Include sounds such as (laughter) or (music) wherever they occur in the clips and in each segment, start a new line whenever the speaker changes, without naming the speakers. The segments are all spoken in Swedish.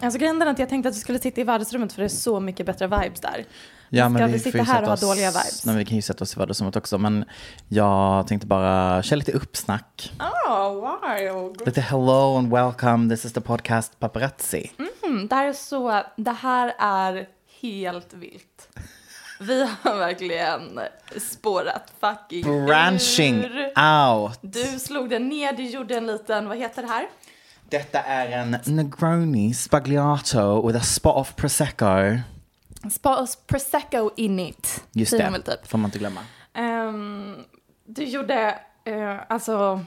Alltså grejen är att jag tänkte att vi skulle sitta i vardagsrummet för det är så mycket bättre vibes där. Ska vi sitta
får ju
här och ha
sätta oss-
dåliga vibes?
Nej, men vi kan ju sätta oss i vardagsrummet också. Men jag tänkte bara köra lite uppsnack.
Oh, wow.
Lite hello and welcome, this is the podcast Paparazzi.
Mm, det här är så, det här är helt vilt. Vi har verkligen spårat fucking
Branching
ur.
out.
Du slog den ner, du gjorde en liten, vad heter det här?
Detta är en Negroni spagliato with a spot of prosecco.
Spa oss prosecco in it.
Just
säger
det,
man väl Typ.
får man inte glömma.
Ehm, du gjorde eh, alltså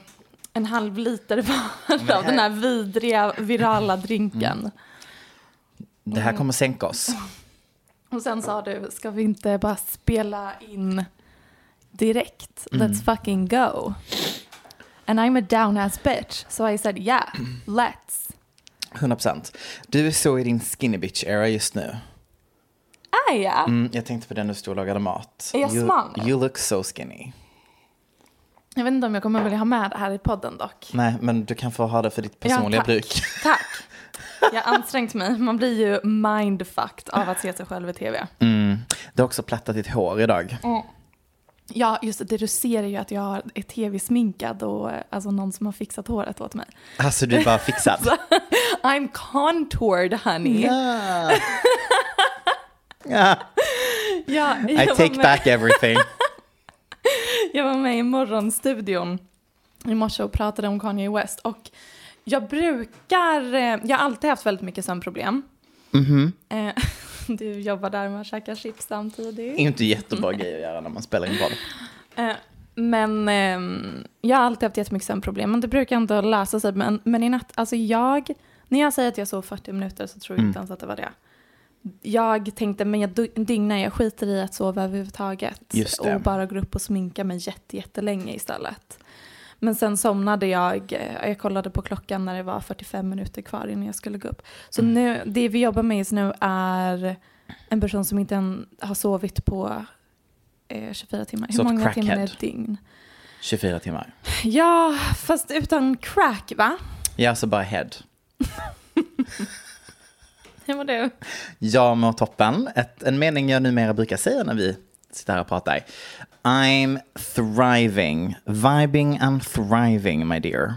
en halv liter (laughs) var av den här vidriga virala
Mm.
drinken.
Det
Mm.
här kommer sänka oss.
Och sen sa du, ska vi inte bara spela in direkt?
Mm.
Let's fucking go. And I'm a down-ass bitch, so I said
(clears throat)
yeah, let's.
100%. Du är så i din skinny bitch era just nu.
Är jag?
Mm, jag tänkte på den du stod och lagade mat.
Är jag
you,
smal?
you look so skinny.
Jag vet inte om jag kommer vilja ha med det här i podden dock.
Nej, men du kan få ha det för ditt personliga
tack.
bruk. (laughs)
Tack. Jag har ansträngt mig. Man blir ju mindfucked av att se sig själv i tv.
Mm. Du har också plattat ditt hår idag.
Mm. Ja, just det. Du ser ju att jag är tv-sminkad och eh, alltså någon som har fixat håret åt mig.
Alltså du är
(laughs)
bara fixad.
I'm contoured honey. (laughs)
Ja. Ja,
Ja,
I
jag var
Ah. take
med- (laughs)
back everything.
Jag var med i Morgonstudion i morse och pratade om Kanye West. Och jag brukar... eh, Jag har alltid haft väldigt mycket sömnproblem.
Mhm.
Eh, (laughs) Du jobbar där med att käka chips samtidigt.
Det är ju inte jättebra grej att göra när man spelar in boll.
Eh, Men ehm, jag har alltid haft jättemycket sömnproblem. Men det brukar ändå lösa sig. Men, men i natt, alltså jag... När jag säger att jag sov 40 minuter så tror jag
Mm.
inte ens att det var det. Jag tänkte, men jag dy- dygnar, jag skiter i att sova överhuvudtaget.
Just det.
och bara går upp och sminkar mig jätte, jättelänge istället. Men sen somnade jag, eh, jag kollade på klockan när det var 45 minuter kvar innan jag skulle gå upp. Så
Mm.
nu, det vi jobbar med just nu är en person som inte än har sovit på eh, 24 timmar. Hur
Så ett
många timmar är
crackhead.
ett dygn?
24 timmar.
Ja, fast utan crack va?
Jag är alltså bara head.
Hur mår du?
Jag mår toppen. Ett, en mening jag numera brukar säga när vi sitter här och pratar. I'm thriving. Vibing and thriving my dear.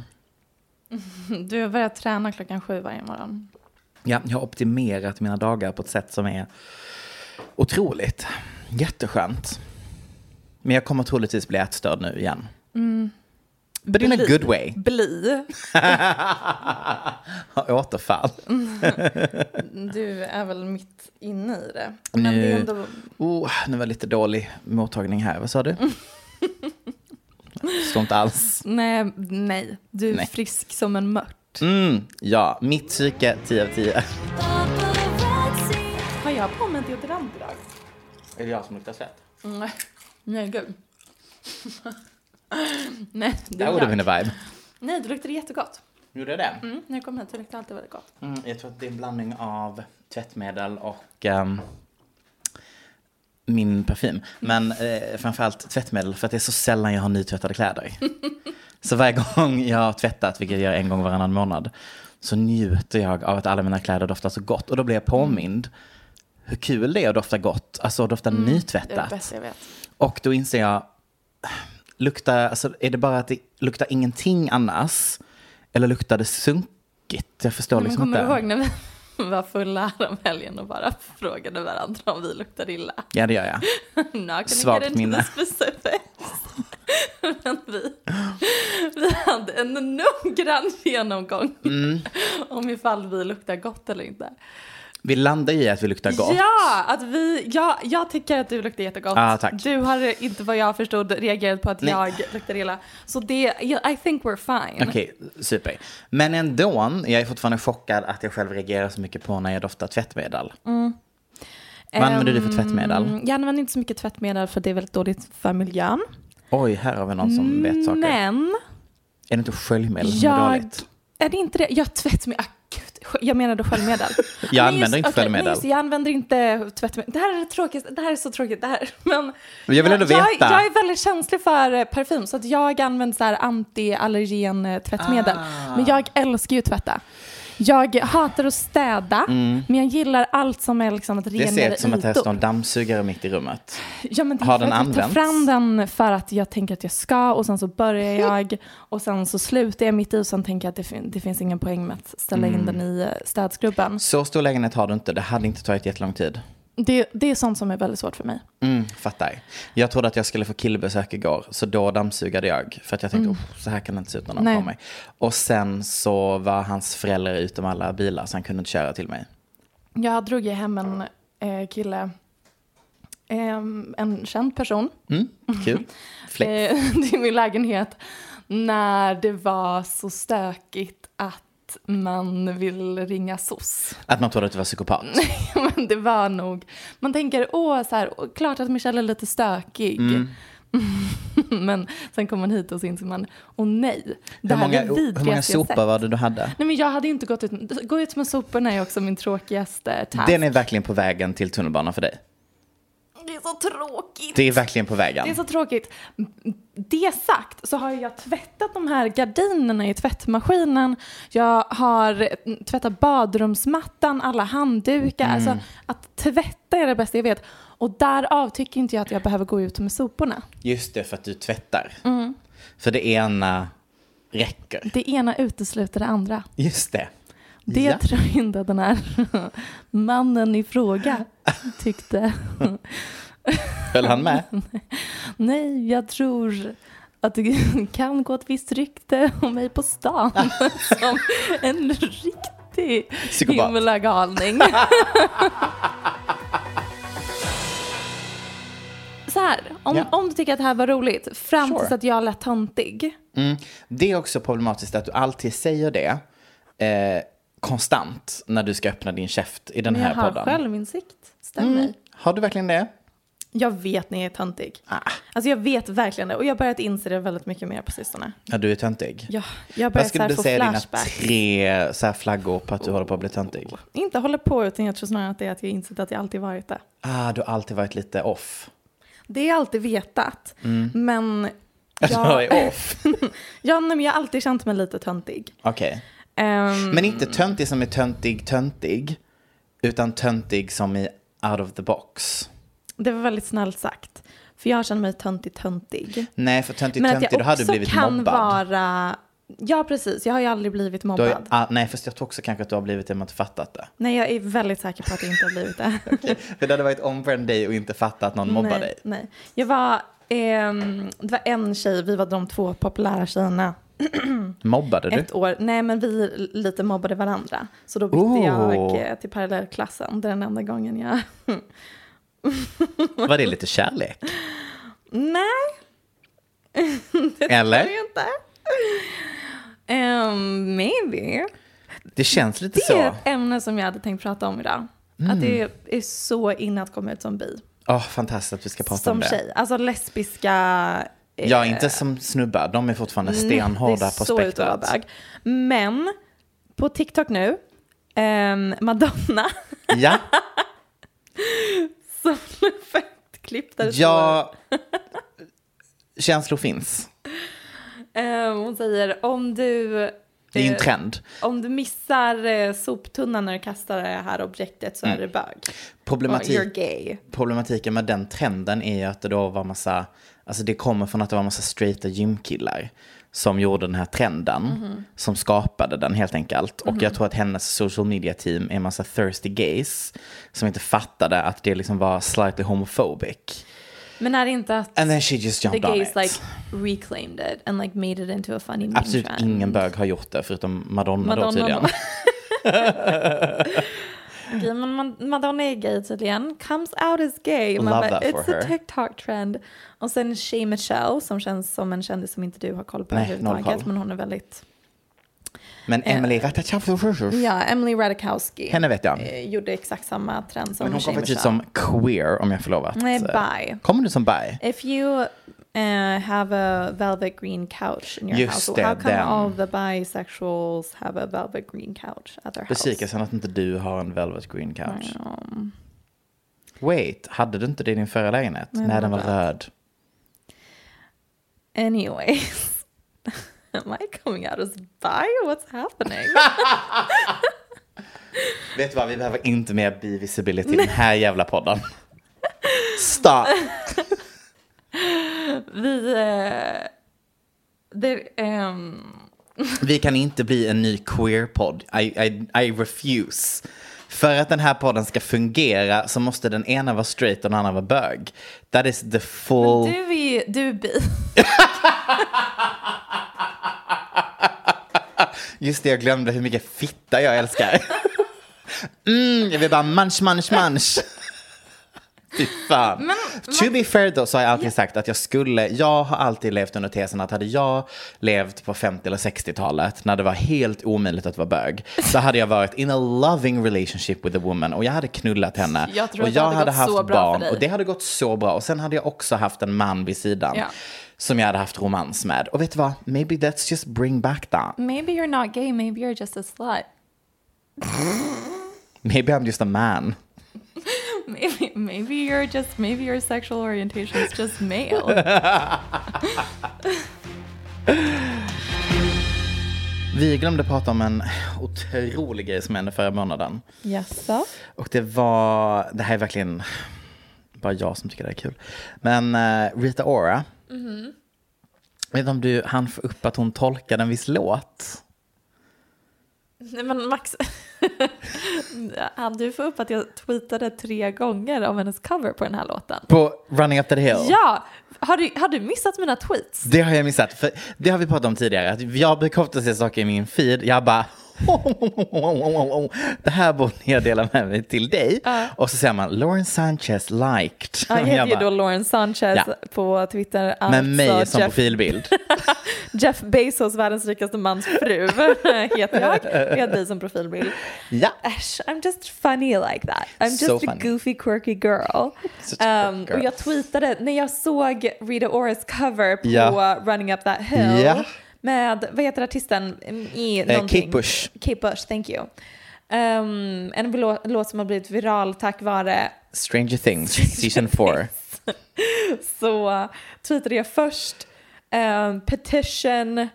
Du har börjat träna klockan sju varje morgon.
Ja, jag har optimerat mina dagar på ett sätt som är otroligt. Jätteskönt. Men jag kommer troligtvis bli ätstörd nu igen.
Mm.
But in a good way.
(laughs)
(laughs)
Bli.
Återfall.
Mm. Du är väl mitt inne i det.
Nu-
(laughs)
Oh, nu var det lite dålig mottagning här. Vad sa du? Förstår inte alls.
Nej, nej. Du är
Nej.
frisk som en mört.
Mm, ja, mitt psyke 10 av 10.
Har jag på mig deodorant idag?
Är det jag som luktar svett?
Nej, nej gud. nej, det
That would have been a vibe.
nej, du luktar jättegott.
Gjorde jag det?
Mm, när jag kom hit, du luktar alltid väldigt gott.
Mm, jag tror att det är en blandning av tvättmedel och ehm, min parfym. Men eh, framförallt tvättmedel för att det är så sällan jag har
(laughs)
nytvättade kläder. så varje gång jag har tvättat, vilket jag gör en gång varannan månad, så njuter jag av att alla mina kläder doftar så gott. Och då blir jag påmind hur kul det är att dofta gott, alltså att dofta
Mm, Det är det
nytvättat.
bästa jag vet.
Och då inser jag, luktar, alltså, är det bara att det luktar ingenting annars? Eller luktar det sunkigt? Jag förstår
Men
liksom
kommer
inte.
du ihåg när vi (laughs) var fulla häromhelgen och bara frågade varandra om vi luktade illa? (laughs)
Ja, det gör jag.
Now can
Svagt
I get into the
minne.
specifics? (laughs) Men vi, vi hade en noggrann
(laughs)
genomgång
Mm.
(laughs) om ifall vi luktar gott eller inte.
Vi landar i att vi luktar gott.
Ja, att vi, ja, jag tycker att du luktar jättegott.
Ah, tack.
Du har inte vad jag förstod reagerat på att
Nej.
jag luktar illa. Så det, yeah, I think we're fine.
Okej, super. Men ändå, jag är fortfarande chockad att jag själv reagerar så mycket på när jag doftar tvättmedel. Vad använder du för tvättmedel?
Mm, Jag använder inte så mycket tvättmedel för det är väldigt dåligt för miljön. Mm,
Oj, här har vi någon som vet saker.
Men
Är det inte sköljmedel som är
jag...
dåligt?
Är det inte det? Jag tvättmedel... Ah, gud, skö- jag menade
(laughs)
sköljmedel. Men
använder inte
okej,
sköljmedel.
nej, just det, jag använder inte tvättmedel. Det här är det tråkigaste. Det här är så tråkigt. Det här. (laughs) Men,
Men jag vill ändå
jag,
veta.
Jag är väldigt känslig för eh, parfym så att jag använder så här antiallergen eh, tvättmedel.
Ah.
Men jag älskar ju tvätta. Jag hatar att städa, men jag gillar allt som är liksom att
Mm. Det
rengöra
ser ut som att det
ytor.
står en dammsugare mitt i rummet.
Ja, men det är
Har
för
den
att Jag tar
använts?
fram den för att jag tänker att jag ska och sen så börjar
(laughs)
jag och sen så slutar jag mitt i och sen tänker jag att det, fin- det finns ingen poäng med att ställa in
Mm.
den i eh, städskrubben.
Så stor lägenhet har du inte, det hade inte tagit jättelång tid.
Det, det är sånt som är väldigt svårt för mig.
Mm, fattar. Jag trodde att jag skulle få killbesök igår, så då dammsugade jag. För att jag tänkte, "Oh, så här kan det inte se ut när någon
Mm. Nej.
får mig. Och sen så var hans föräldrar utom alla bilar, så han kunde inte köra till mig.
Jag drog ju hem en eh, kille, ehm, en känd person,
Mm,
(laughs)
kul. Flex.
eh, (laughs) till min lägenhet när det var så stökigt att man vill ringa SOS.
Att man trodde att du var psykopat.
(laughs) Men det var nog, man tänker åh, så här, åh, klart att Michelle är lite stökig.
Mm.
(laughs) men sen kommer man hit och så inser man, åh nej, det
Hur
här är
många,
det
hur många
vidrigaste jag
sopor
sett.
var det du hade?
Nej men jag hade ju inte gått ut, gå ut med soporna är också min tråkigaste task.
Den är verkligen på vägen till tunnelbanan för dig.
Det är så tråkigt.
Det är verkligen på vägen.
Det är så tråkigt. Det sagt så har jag tvättat de här gardinerna i tvättmaskinen. Jag har tvättat badrumsmattan, alla handdukar. Alltså, att tvätta är det bästa jag vet. Och därav tycker inte jag att jag behöver gå ut med soporna.
Just det, för att du tvättar.
Mm.
För det ena räcker.
Det ena utesluter det andra.
Just det.
Det
Ja.
tror jag inte att den här (laughs) mannen i fråga tyckte.
Höll han med?
Nej, jag tror att det (laughs) kan gå ett visst rykte om mig på stan (laughs) som en riktig
Psykopat.
himla
(laughs)
galning. Så här, om,
Ja.
om du tycker att det här var roligt, fram
Sure.
tills att jag lät töntig.
Det är också problematiskt att du alltid säger det eh, konstant när du ska öppna din käft i den
Men jag
här
har
podden. Mm.
självinsikt, stämmer.
Har du verkligen det?
Jag vet när jag är töntig.
Ah.
Alltså jag vet verkligen det och jag har börjat inse det väldigt mycket mer på sistone.
Ja, du är töntig.
Ja, jag har
Vad
börjat så
skulle
här
du
få
säga är dina
flashbacks.
tre så här flaggor på att du håller på att bli töntig?
Inte håller på utan jag tror snarare att det är att jag insett att jag alltid varit det.
Ah, du har alltid varit lite off. (laughs)
Det har jag alltid vetat. Men
Jag
jag,
Mm. är off.
ja, nej, men jag har alltid känt mig lite töntig.
Okej.
Ehm,
Men inte töntig som är töntig, töntig. Utan töntig som i out of the box.
det var väldigt snällt sagt. För jag känner mig töntig, töntig.
Nej, för töntig,
Men att
töntig,
jag
då hade du
också
blivit
kan
mobbad.
vara... Ja, precis. Jag har ju aldrig blivit
Du har ju,
mobbad.
ah, nej, fast jag tror också kanske att du har blivit det men inte fattat det.
Nej, jag är väldigt säker på att jag inte har blivit
(laughs)
det.
För det hade varit omvänd dig och inte fatta att någon mobbar
nej,
dig.
Nej. Jag var... ehm, det var en tjej, vi var de två populära tjejerna
Mobbade du?
ett år. Nej, men vi lite mobbade varandra. Så då bytte
Oh.
jag eh, till parallellklassen. Det är den enda gången jag... (laughs)
Var det lite kärlek?
Nej.
Eller?
Jag inte. Ehm, maybe.
Det känns lite
Det
så. Mm.
är ett ämne som jag hade tänkt prata om idag. Att det är så inne att komma ut som bi.
Åh, fantastiskt att vi ska prata om
som
det.
tjej. Alltså lesbiska... eh,
Ja, inte som snubbar. De är fortfarande
Nej,
stenhårda på
Mm, Det är så ut att vara
spektrat.
bög. Men på TikTok nu, ehm, Madonna
(laughs)
(laughs)
Ja,
som fett klipp där det står,
ja. Känslor finns.
ehm, hon säger om du,
Det är ju en
eh,
trend.
om du missar eh, soptunnan när du kastar det här objektet
Mm.
så är du bög.
Problematik,
Och You're gay.
problematiken med den trenden är ju att det då var massa, alltså det kommer från att det var massa straighta gymkillar som gjorde den här trenden,
Mhm.
som skapade den helt enkelt. Och jag tror att hennes social media team är en massa thirsty gays som inte fattade att det liksom var slightly homophobic.
Men är det inte att
And then she just
the
jumped on
gays
it.
like reclaimed it and like made it into a funny meme
Absolut
trend?
ingen bög har gjort det förutom Madonna,
Madonna
då tydligen.
då. Okej, men man- Madonna är gay tydligen. Comes out as gay. Man
Love
bara,
that for
It's a
her."
TikTok trend. Och sen Shay Michelle som känns som en kändis som inte du har koll på
Nej, noll
överhuvudtaget.
koll.
Men hon är väldigt...
Men Emily Ratajkowski,
Ja, Emily Ratajkowski.
henne vet jag.
eh, Gjorde exakt samma trend som
Men hon kom
Shay
faktiskt ut
Michelle.
som queer om jag får lov att...
Nej, bi.
Kommer du som bi?
If you eh, have a velvet green couch in your
Just
house,
det,
how come
den.
all the bisexuals have a velvet green couch at their house?
Besvikelsen att inte du har en velvet green couch. Wait, hade du inte det i din förra lägenhet? Nej, den var röd.
Anyways, (laughs) am I coming out as bi? What's happening?
Vet du vad, vi behöver inte mer bivisibility i den här jävla podden. Stop!
Vi... eh, det, ehm,
Vi kan inte bli en ny queer-podd. I, I, I refuse. För att den här podden ska fungera så måste den ena vara straight och den andra vara bög. That is the full...
du är ju- du är bi. (laughs)
Just det, jag glömde hur mycket fitta jag älskar. Mm, jag vill bara munch, munch, munch. Fy fan. to be fair då så har jag alltid sagt att jag skulle, jag har alltid levt under tesen att hade jag levt på 50 eller 60-talet när det var helt omöjligt att vara bög så hade jag varit in a loving relationship with a woman och jag hade knullat henne
Jag tror
och
att det hade gått så bra för dig.
och det hade gått så bra och sen hade jag också haft en man vid sidan
Ja.
som jag hade haft romans med och vet du vad, maybe that's just bring back that.
Maybe you're not gay, maybe you're just a slut.
Maybe I'm just a man.
Maybe, maybe you're just, maybe your sexual orientation is just male.
Vi glömde prata om en otrolig grej som hände förra månaden.
Jaså?
Och det var, det här är verkligen bara jag som tycker det är kul. Men eh, Rita Ora. Vet inte om du hann få upp att hon tolkade en viss låt?
Nej men Max, (laughs) hade du fått upp att jag tweetade tre gånger om hennes cover på den här låten?
På Running Up That Hill?
Ja! Har du, har du missat mina tweets?
Det har jag missat. För det har vi pratat om tidigare. Att jag brukar ofta se saker i min feed. Jag bara... (laughs) Det här borde jag dela med mig till dig. Och så säger man Lauren Sanchez liked.
Ja, jag heter
Jag
ju
bara,
då Lauren Sanchez
Ja.
på Twitter.
med mig
alltså
som
Jeff
profilbild.
Jeff Bezos, världens rikaste mans fru, (laughs) heter jag. Vi har dig som profilbild.
(laughs) Ja.
Äsch, I'm just funny like that. I'm just
So
a
funny.
goofy quirky girl.
Such a
Um,
quirky girl.
Och jag tweetade när jag såg Rita Oras cover på
Ja.
Running Up That Hill
Ja.
med, vad heter artisten? Mm, I
Eh,
någonting.
Kate Bush.
Kate Bush, thank you. Um, en lå- låt som har blivit viral tack vare
Stranger Things, season 4.
så eh, tweetade jag först ehm, petition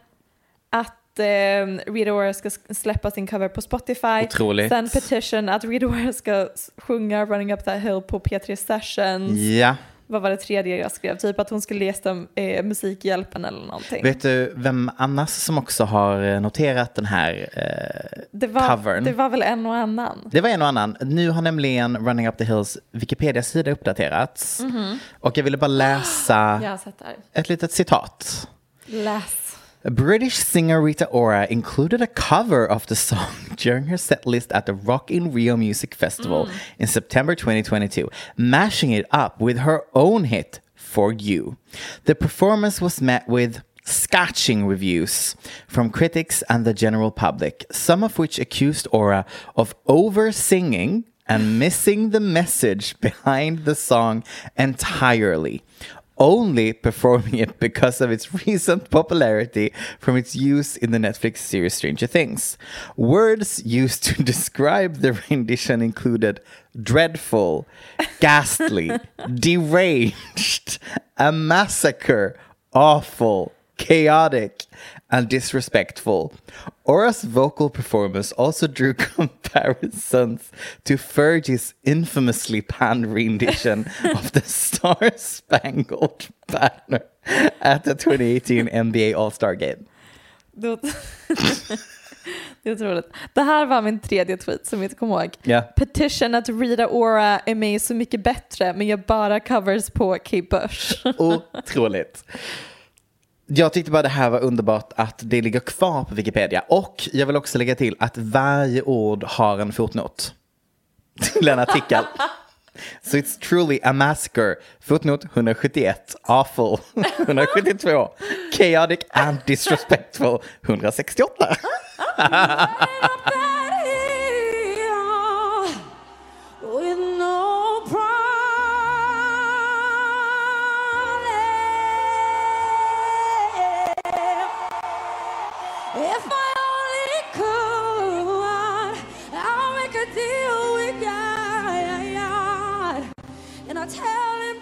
att um, Rita Ora ska s- släppa sin cover på Spotify.
Otroligt.
Sen petition att Rita Ora ska s- sjunga Running Up That Hill på P3 Sessions.
Ja.
Vad var det tredje jag skrev? Typ att hon skulle gästa eh, Musikhjälpen eller någonting.
Vet du vem annars som också har eh, noterat den här eh,
det, var,
covern?
det var väl en och annan.
Det var en och annan. Nu har nämligen Running Up The Hills Wikipedia-sida uppdaterats. Och jag ville bara läsa
Jag har sett det här.
ett litet citat.
Läs.
A British singer Rita Ora included a cover of the song (laughs) during her set list at the Rock in Rio Music Festival in September 2022, mashing it up with her own hit, for you. The performance was met with scorching reviews from critics and the general public, some of which accused Aura of over singing and missing the message (laughs) behind the song entirely. Only performing it because of its (laughs) recent popularity from its use in the Netflix series Stranger Things. Words used to (laughs) describe the rendition included dreadful, ghastly, (laughs) deranged, a massacre, awful, chaotic, and disrespectful. Aura's vocal performance also drew (laughs) comparisons to Fergie's infamously panned rendition of the Star Spangled Banner at the 2018 NBA All Star Game.
Det var- (laughs) Det är otroligt. Det här var min tredje tweet som jag inte kommer ihåg.
Ja.
Petition att Rita Ora är med i Så Mycket Bättre men gör bara covers på Kate Bush.
Otroligt. Jag tyckte bara det här var underbart att det ligger kvar på Wikipedia. Och jag vill också lägga till att varje ord har en fotnot. Till en artikel. So it's truly a massacre. Fotnot 171. Awful 172. Chaotic and disrespectful 168.
(laughs)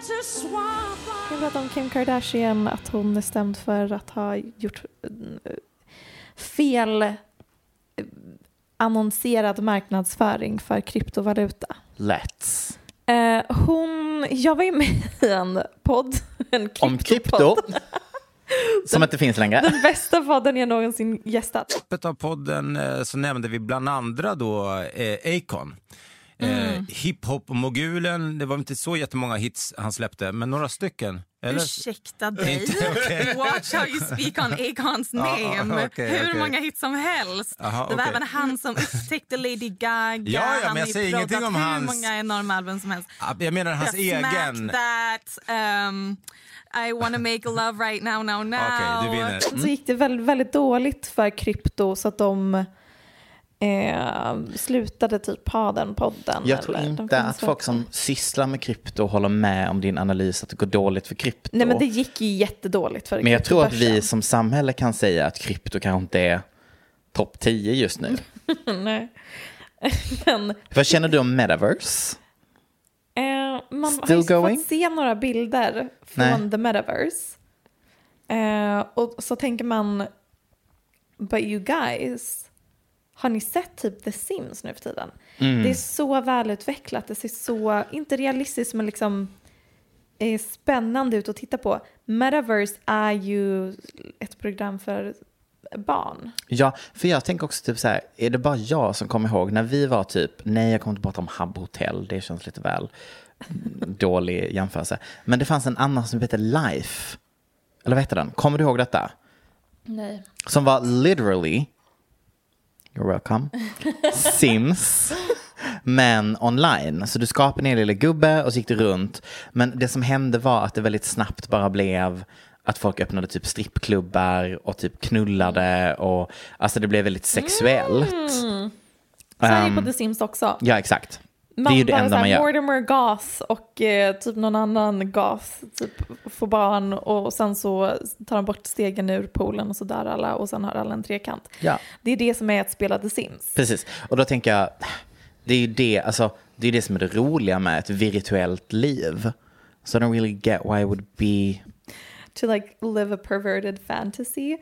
Jag kan prata om Kim Kardashian, att hon är stämd för att ha gjort eh, fel eh, annonserad marknadsföring för kryptovaluta.
Let's.
Eh, hon, jag var ju med i en podd, en
Om krypto.
kryptopodd.
Typ, Som inte finns längre.
Den bästa podden jag någonsin gästat.
släppet av podden eh, så nämnde vi bland andra då eh, Akon. Eh, Hiphop-mogulen, det var inte så jättemånga hits han släppte, men några stycken. Eh, Eller?
Ursäkta dig.
Inte, okej.
Watch how you speak on Akons name.
ja, okej,
Hur
okej.
många hits som helst.
Aha,
det var
okej.
även han som upptäckte Lady Gaga.
Ja, ja,
han
men jag
har ju
säger ingenting
proddat
om
hur
hans-
många enorma album som helst.
Ja, Jag menar hans
Jag
egen.
Smack that. Um, I wanna make love right now, now, now.
(laughs) Okej, du vinner.
Så gick det väldigt, väldigt dåligt för krypto så att de eh, slutade typ ha den podden.
Jag tror
eller? De
inte
finns
att
väl-
folk som sysslar med krypto håller med om din analys att det går dåligt för krypto.
Nej men det gick ju jättedåligt för
Men jag tror att vi
kryptobörsen.
som samhälle kan säga att krypto kanske inte är topp 10 just nu.
Nej. (laughs) Men
Vad känner du om metaverse?
eh, man har
Still
ju
going?
fått se några bilder från
Nej.
the metaverse. Eh, och så tänker man, but you guys, har ni sett typ The Sims nu för tiden?
Mm.
Det är så välutvecklat, det ser så, inte realistiskt men liksom eh, spännande ut att titta på. Metaverse är ju ett program för barn.
Ja, för jag tänker också typ så här, är det bara jag som kommer ihåg när vi var typ, nej jag kommer inte prata om Habbo Hotel, det känns lite väl dålig jämförelse. Men det fanns en annan som hette Life, eller vad hette den? Kommer du ihåg detta?
Nej.
Som var literally, you're welcome, Sims. Men online. Så du skapade din lilla gubbe och så gick du runt. Men det som hände var att det väldigt snabbt bara blev att folk öppnade typ strippklubbar och typ knullade och alltså det blev väldigt sexuellt.
Mm. Så är det
Ehm,
på The Sims också.
ja exakt.
Man
det är ju det
bara
enda
såhär
man gör.
Mortimer gas och eh, typ någon annan gas typ, får barn och sen så tar de bort stegen ur poolen och så dör alla och sen har alla en trekant.
Ja.
Det är det som är att spela The Sims.
Precis, och då tänker jag, det är ju det, alltså, det, är det som är det roliga med ett virtuellt liv. So I don't really get why it would be
To like live a perverted fantasy.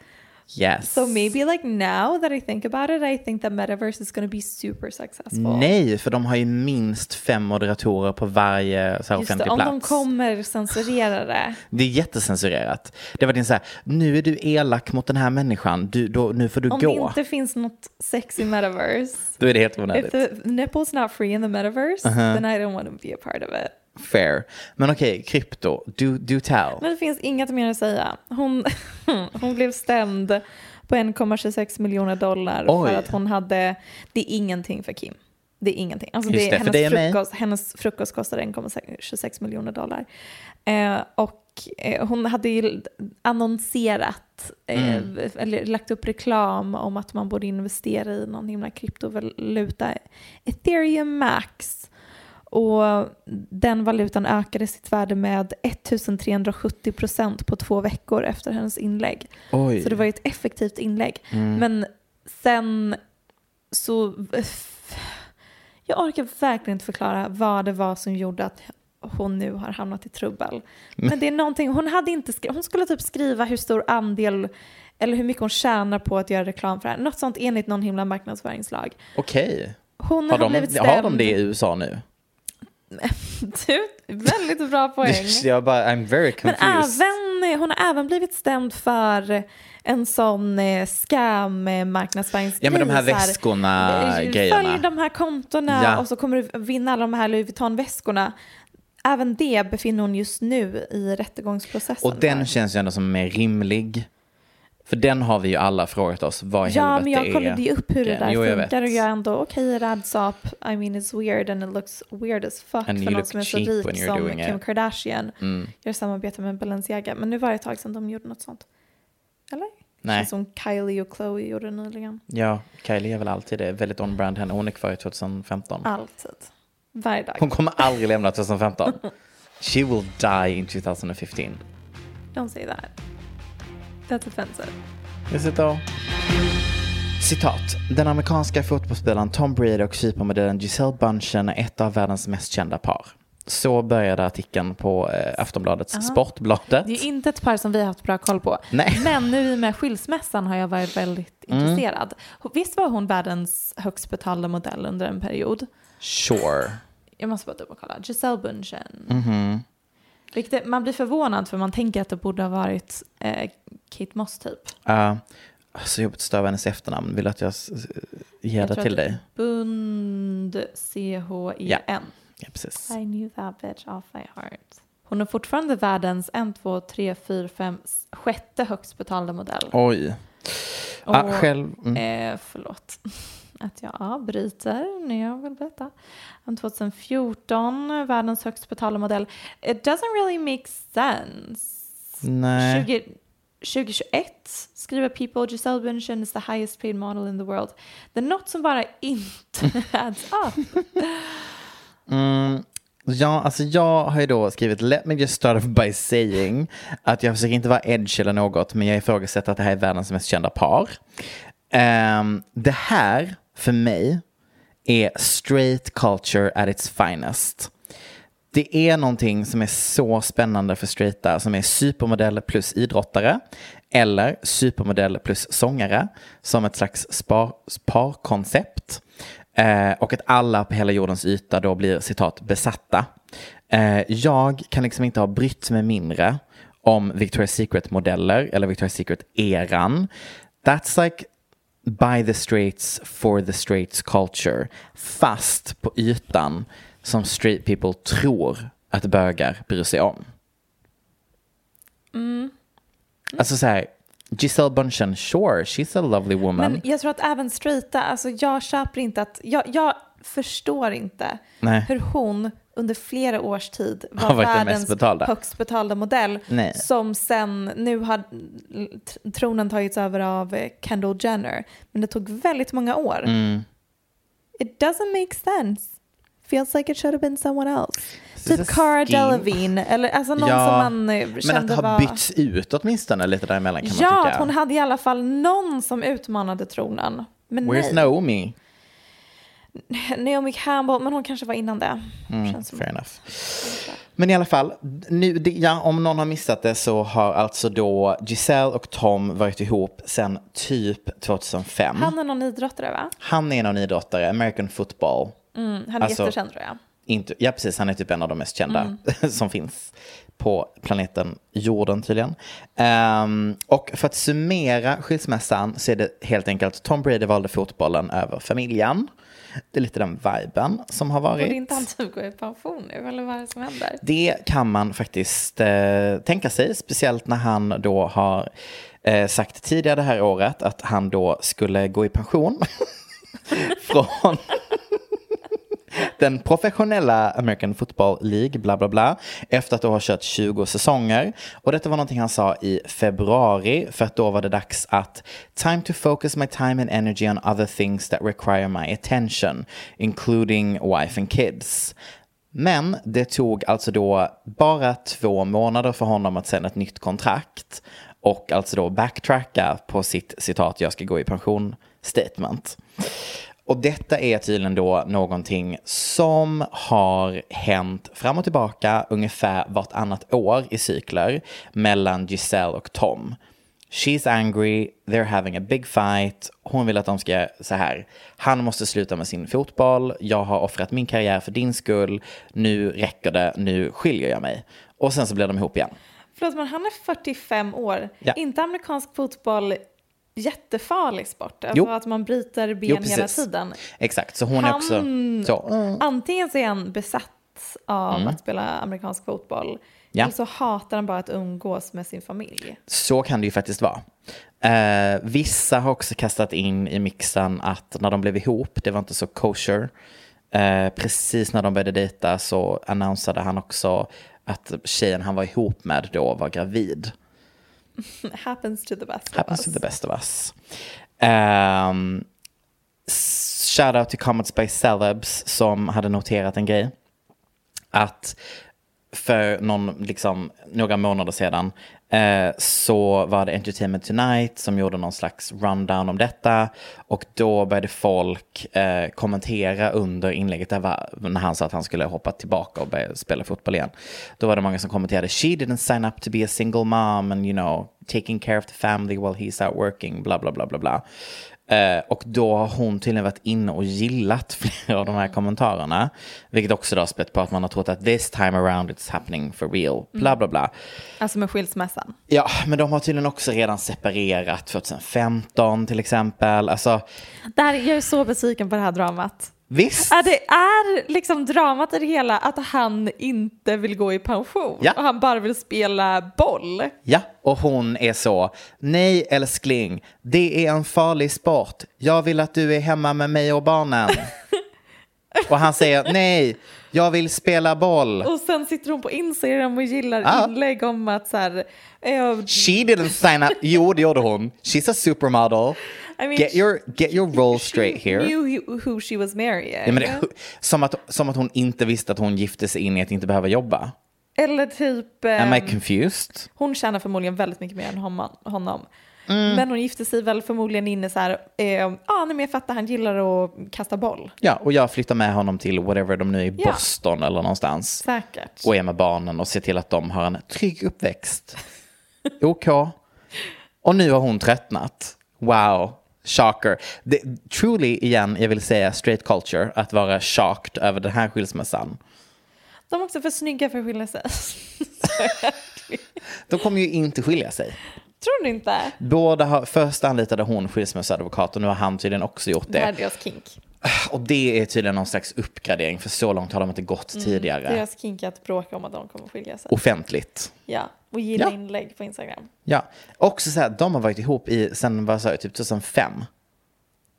yes.
So maybe like now that I think about it I think that metaverse is gonna be super successful.
Nej, för de har ju minst fem moderatorer på varje så här,
Just det,
offentlig
om
plats.
de kommer censurera
(laughs)
det.
Det är jättecensurerat. Det var din så här, nu är du elak mot den här människan, du, då, nu får du
Om det
gå.
inte finns något sex i metaverse.
Då är det helt
If
onödigt. Uh-huh.
the nipple's not free in the metaverse then I don't want to be a part of it.
Fair. Men okej, krypto, do, do tell.
Men det finns inget mer att säga. Hon, (laughs) hon blev stämd på 1,26 miljoner dollar
Oj.
för att hon hade... Det är ingenting för Kim. Det är ingenting. Alltså
Just
det, är
det, för
hennes,
dig och mig.
frukost, hennes frukost kostar 1,26 miljoner dollar. Eh, och eh, hon hade ju annonserat, eh, eller lagt upp reklam om att man borde investera i någon himla kryptovaluta, ethereum max. Och den valutan ökade sitt värde med 1370 procent på två veckor efter hennes inlägg.
Oj. Mm.
Så det var ju ett effektivt inlägg. Men sen så... Jag orkar verkligen inte förklara vad det var som gjorde att hon nu har hamnat i trubbel. Men det är någonting, hon, hade inte skri- hon skulle typ skriva hur stor andel eller hur mycket hon tjänar på att göra reklam för det här. Något sånt enligt någon himla marknadsföringslag.
Okej.
Hon har,
Har,
blivit
de,
stämd. (laughs)
har de det i USA nu?
Du, väldigt
(laughs)
bra poäng.
Jag bara, I'm very
Men
confused.
även, eh, hon har även blivit stämd för eh, en sån eh, scam eh, marknadsföringsgrej.
Ja men de här
så här,
väskorna
Eh, Följ
grejerna.
de här kontona
Ja.
och så kommer du vinna alla de här Louis Vuitton-väskorna. Även det befinner hon just nu i rättegångsprocessen.
Och den
där.
känns ju ändå som mer rimlig. För den har vi ju alla frågat oss, vad i
Ja,
helvete
men jag kollade ju
är...
upp hur det
grejen?
där
Jo, jag
funkar
vet.
och jag är ändå okej okay, radsap. I mean it's weird and it looks weird as fuck
And you
för någon
look
som är så
cheap when
rik
you're
som
doing
Kim
it. Mm.
Kardashian. Gör samarbete med Balenciaga. Men nu var det ett tag sedan de gjorde något sånt. Eller?
Nej. Mm.
Känns Som Kylie och Chloe gjorde nyligen.
Ja, Kylie är väl alltid det. Väldigt on-brand henne. Hon är kvar i 2015.
Alltid. Varje dag.
Hon kommer aldrig lämna 2015. She will die in 2015.
Don't say that. That's offensive.
Is it though? Citat. Den amerikanska fotbollsspelaren Tom Brady och supermodellen Giselle Bundchen är ett av världens mest kända par. Så började artikeln på eh, Aftonbladets Sportbladet.
Det är ju inte ett par som vi har haft bra koll på.
Nej.
(laughs)
Mm.
Men nu i och med skilsmässan har jag varit väldigt intresserad. Visst var hon världens högst betalda modell under en period?
Sure.
Jag måste bara dubbelkolla. Giselle Bundchen.
Mhm.
Vilket är- man blir förvånad för man tänker att det borde ha varit eh, Kate Moss typ.
Uh, så jobbigt att stava hennes efternamn. Vill du att jag s- s- ger
Jag
det
tror
till
att det
dig?
Bund E C-H-E-N.
Ja, precis.
I knew that bitch off by heart. Hon är fortfarande världens en, två, tre, fyra, fem, s- sjätte högst betalda modell.
Oj.
Och-
Ah, själv. Mm.
Eh, förlåt (laughs) att jag avbryter när jag vill berätta. En 2014, världens högst betalda modell. It doesn't really make sense.
Nej.
20, 2021 skriver People Giselle Bündchen is the highest paid model in the world. Det är något som bara inte (laughs) adds up.
Mm, Ja, alltså jag har ju då skrivit Let me just start off by saying att jag försöker inte vara edge eller något, men jag ifrågasätter att det här är världens mest kända par. Ehm, det här, för mig, är straight culture at its finest. Det är någonting som är så spännande för straighta som är supermodell plus idrottare eller supermodell plus sångare som ett slags spar- parkoncept. Eh, och att alla på hela jordens yta då blir citat besatta. Eh, jag kan liksom inte ha brytt mig mindre om Victoria's Secret-modeller eller Victoria's Secret-eran. That's like by the straights for the straights culture. Fast på ytan som straight people tror att bögar bryr sig om.
Mm.
Alltså så här, Giselle Bundchen, sure, she's a lovely woman.
Men jag tror att även straighta, alltså jag köper inte att, jag, jag förstår inte
Nej.
hur hon under flera års tid var
(laughs) Har varit den mest
världens
betalda.
högst betalda modell
Nej.
som sen, nu har t- tronen tagits över av eh, Kendall Jenner, men det tog väldigt många år.
Mm.
It doesn't make sense. Feels like it should have been someone else.
is
Typ
a
Cara
scheme.
Delevingne, eller alltså någon som man eh, kände
men att det har
var...
bytts ut åtminstone lite däremellan kan man
Ja,
tycka.
att hon hade i alla fall någon som utmanade tronen. Men
Where's
nej.
Naomi?
Naomi Campbell, men hon kanske var innan det. Känns som.
Mm, Fair enough. Men i alla fall, nu, det, ja, om någon har missat det så har alltså då Giselle och Tom varit ihop sedan typ 2005.
Han är någon idrottare va?
Han är någon idrottare, American football.
Mm, han är
Alltså-
jättekänd tror jag.
Inte, ja, precis. Han är typ en av de mest kända
Mm.
(laughs) som finns på planeten jorden tydligen. Ehm, och för att summera skilsmässan så är det helt enkelt Tom Brady valde fotbollen över familjen. Det är lite den viben som har varit.
Borde inte han typ gå i pension nu eller vad är det som händer?
Det kan man faktiskt eh, tänka sig, speciellt när han då har eh, sagt tidigare det här (laughs) året att han då skulle gå i pension från Den professionella American Football League, bla bla bla, efter att då ha kört 20 säsonger. Och detta var någonting han sa i februari, för att då var det dags att time to focus my time and energy on other things that require my attention, including wife and kids. Men det tog alltså då bara två månader för honom att sända ett nytt kontrakt och alltså då backtracka på sitt citat jag ska gå i pension statement. Och detta är tydligen då någonting som har hänt fram och tillbaka ungefär vartannat år i cykler mellan Giselle och Tom. She's angry, they're having a big fight, hon vill att de ska göra så här. Han måste sluta med sin fotboll, jag har offrat min karriär för din skull, nu räcker det, nu skiljer jag mig. Och sen så blir de ihop igen.
Förlåt, men han är 45 år.
Ja.
Inte amerikansk fotboll jättefarlig sport?
Jo.
Alltså att man bryter ben hela tiden.
Exakt, så hon är också...
Han-
Så.
Antingen så är han besatt av att spela amerikansk fotboll
Mm. Ja.
eller så hatar han bara att umgås med sin familj.
Så kan det ju faktiskt vara. Eh, vissa har också kastat in i mixen att när de blev ihop, det var inte så kosher. Eh, precis när de började dejta så annonsade han också att tjejen han var ihop med då var gravid.
Happens to the best of
Happens
us.
to the best of us. Um, Shoutout till Comments by Celebs som hade noterat en grej. Att för någon, liksom, några månader sedan eh, så var det Entertainment Tonight som gjorde någon slags rundown om detta. Och då började folk eh, kommentera under inlägget där var, när han sa att han skulle hoppa tillbaka och börja spela fotboll igen. Då var det många som kommenterade “She didn't sign up to be a single mom and you know taking care of the family while he's out working” bla bla bla bla bla. Eh, och då har hon tydligen varit inne och gillat (laughs) flera av de här kommentarerna. Vilket också då har spett på att man har trott att this time around it's happening for real.
Mm.
Bla bla bla.
Alltså med skilsmässan.
Ja, men de har tydligen också redan separerat 2015 till exempel. Alltså,
Där, jag är så besviken på det här dramat.
visst.
Ja, det är liksom dramat i det hela att han inte vill gå i pension
Ja.
och han bara vill spela boll.
Ja, och hon är så. Nej älskling, det är en farlig sport. Jag vill att du är hemma med mig
(laughs)
och barnen. och han säger nej, jag vill spela boll.
Och sen sitter hon på Instagram och gillar
Ja.
inlägg om att så här, eh,
She didn't sign up. Jo, det gjorde hon. She's a supermodel.
I mean,
get your, get your role
she
straight here.
knew who- who she was marrying.
Ja, men det, som, att, som att hon inte visste att hon gifte sig in i att inte behöva jobba.
Eller typ,
Am I
eh,
confused?
hon tjänar förmodligen väldigt mycket mer än honom. honom.
Mm.
Men hon gifte sig väl förmodligen inne så här, eh, ah, nej, men jag fattar, han gillar att kasta boll.
Ja, och jag flyttar med honom till whatever de nu är i
Ja.
Boston eller någonstans.
Säkert.
Och är med barnen och ser till att de har en
(laughs)
trygg uppväxt. OK. Och nu har hon tröttnat. Wow. Shocker. Det, truly, igen, jag vill säga straight culture, att vara shocked över den här skilsmässan.
De är också för snygga för att skilja sig. (laughs)
De kommer ju inte skilja sig.
Tror du inte?
Båda har, först anlitade hon skilsmässoadvokat och nu har han tydligen också gjort
Det här är
det.
deras kink.
Och det är tydligen någon slags uppgradering för så långt har de inte gått tidigare.
Deras kink är att bråka om att de kommer att skilja sig.
Offentligt.
Ja, och gilla
Ja.
inlägg på Instagram.
Ja. Också så här, de har varit ihop i, sen vad sa jag, typ 2005.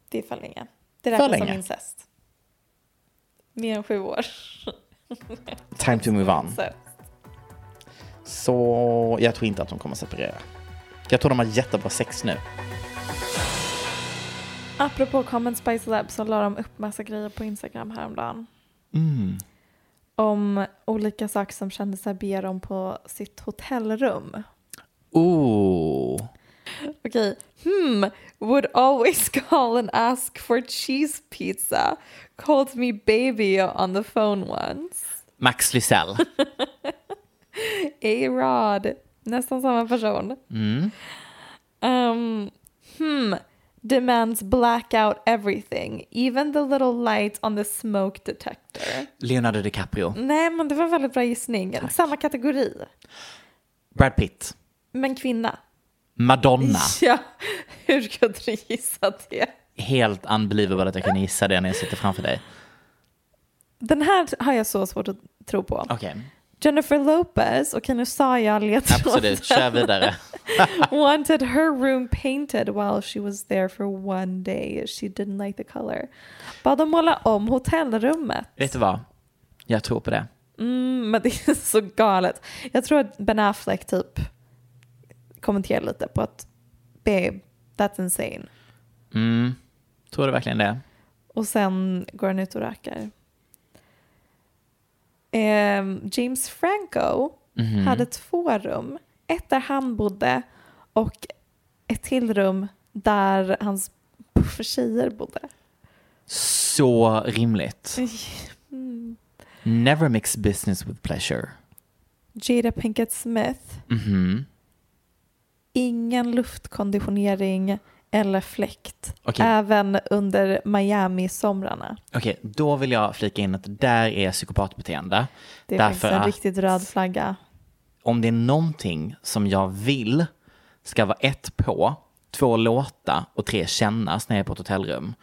Det är för länge. Det räknas som
länge.
incest. Mer än sju år.
Time to move on.
Så.
Så jag tror inte att de kommer separera. Jag tror de har jättebra sex nu.
Apropå Common Spice Lab så la de upp massa grejer på Instagram häromdagen.
Mm.
Om olika saker som kändisar ber om på sitt hotellrum.
Ooh.
Okej, hmm, would always call and ask for cheese pizza. Called me baby on the phone once.
Max (laughs) Lysell.
A-Rod. Nästan samma person.
Mm.
Um, hmm. Demands black out everything. Even the little light on the smoke detector.
Leonardo DiCaprio.
Nej, men det var en väldigt bra gissning. Samma kategori.
Brad Pitt.
Men kvinna.
Madonna.
(laughs) Ja, hur kunde du gissa det?
Helt unbelievable att jag kan gissa det när jag sitter framför dig.
Den här har jag så svårt att tro på.
Okej.
Jennifer Lopez och Kanu Saya (laughs)
Absolut, kör vidare.
wanted her room painted while she was there for one day. She didn't like the color. Bad dem måla om hotellrummet.
Vet du vad? Jag tror på det.
Mm, men det är så galet. Jag tror att Ben Affleck typ kommenterar lite på att babe, that's insane.
Mm. Tror du verkligen det?
Och sen går han ut och röker. Ehm, James Franco
Mhm. Mm.
hade två rum. Ett där han bodde och ett till rum där hans tjejer bodde.
Så rimligt. Never mix business with pleasure.
Jada Pinkett Smith.
Mhm.
Ingen luftkonditionering eller fläkt.
Okej.
Även under Miami-somrarna.
Okej, då vill jag flika in att det där är psykopatbeteende.
Det är
Därför
faktiskt en
att-
riktigt röd flagga.
om det är någonting som jag vill ska vara ett på, två låta och tre kännas när jag är på ett hotellrum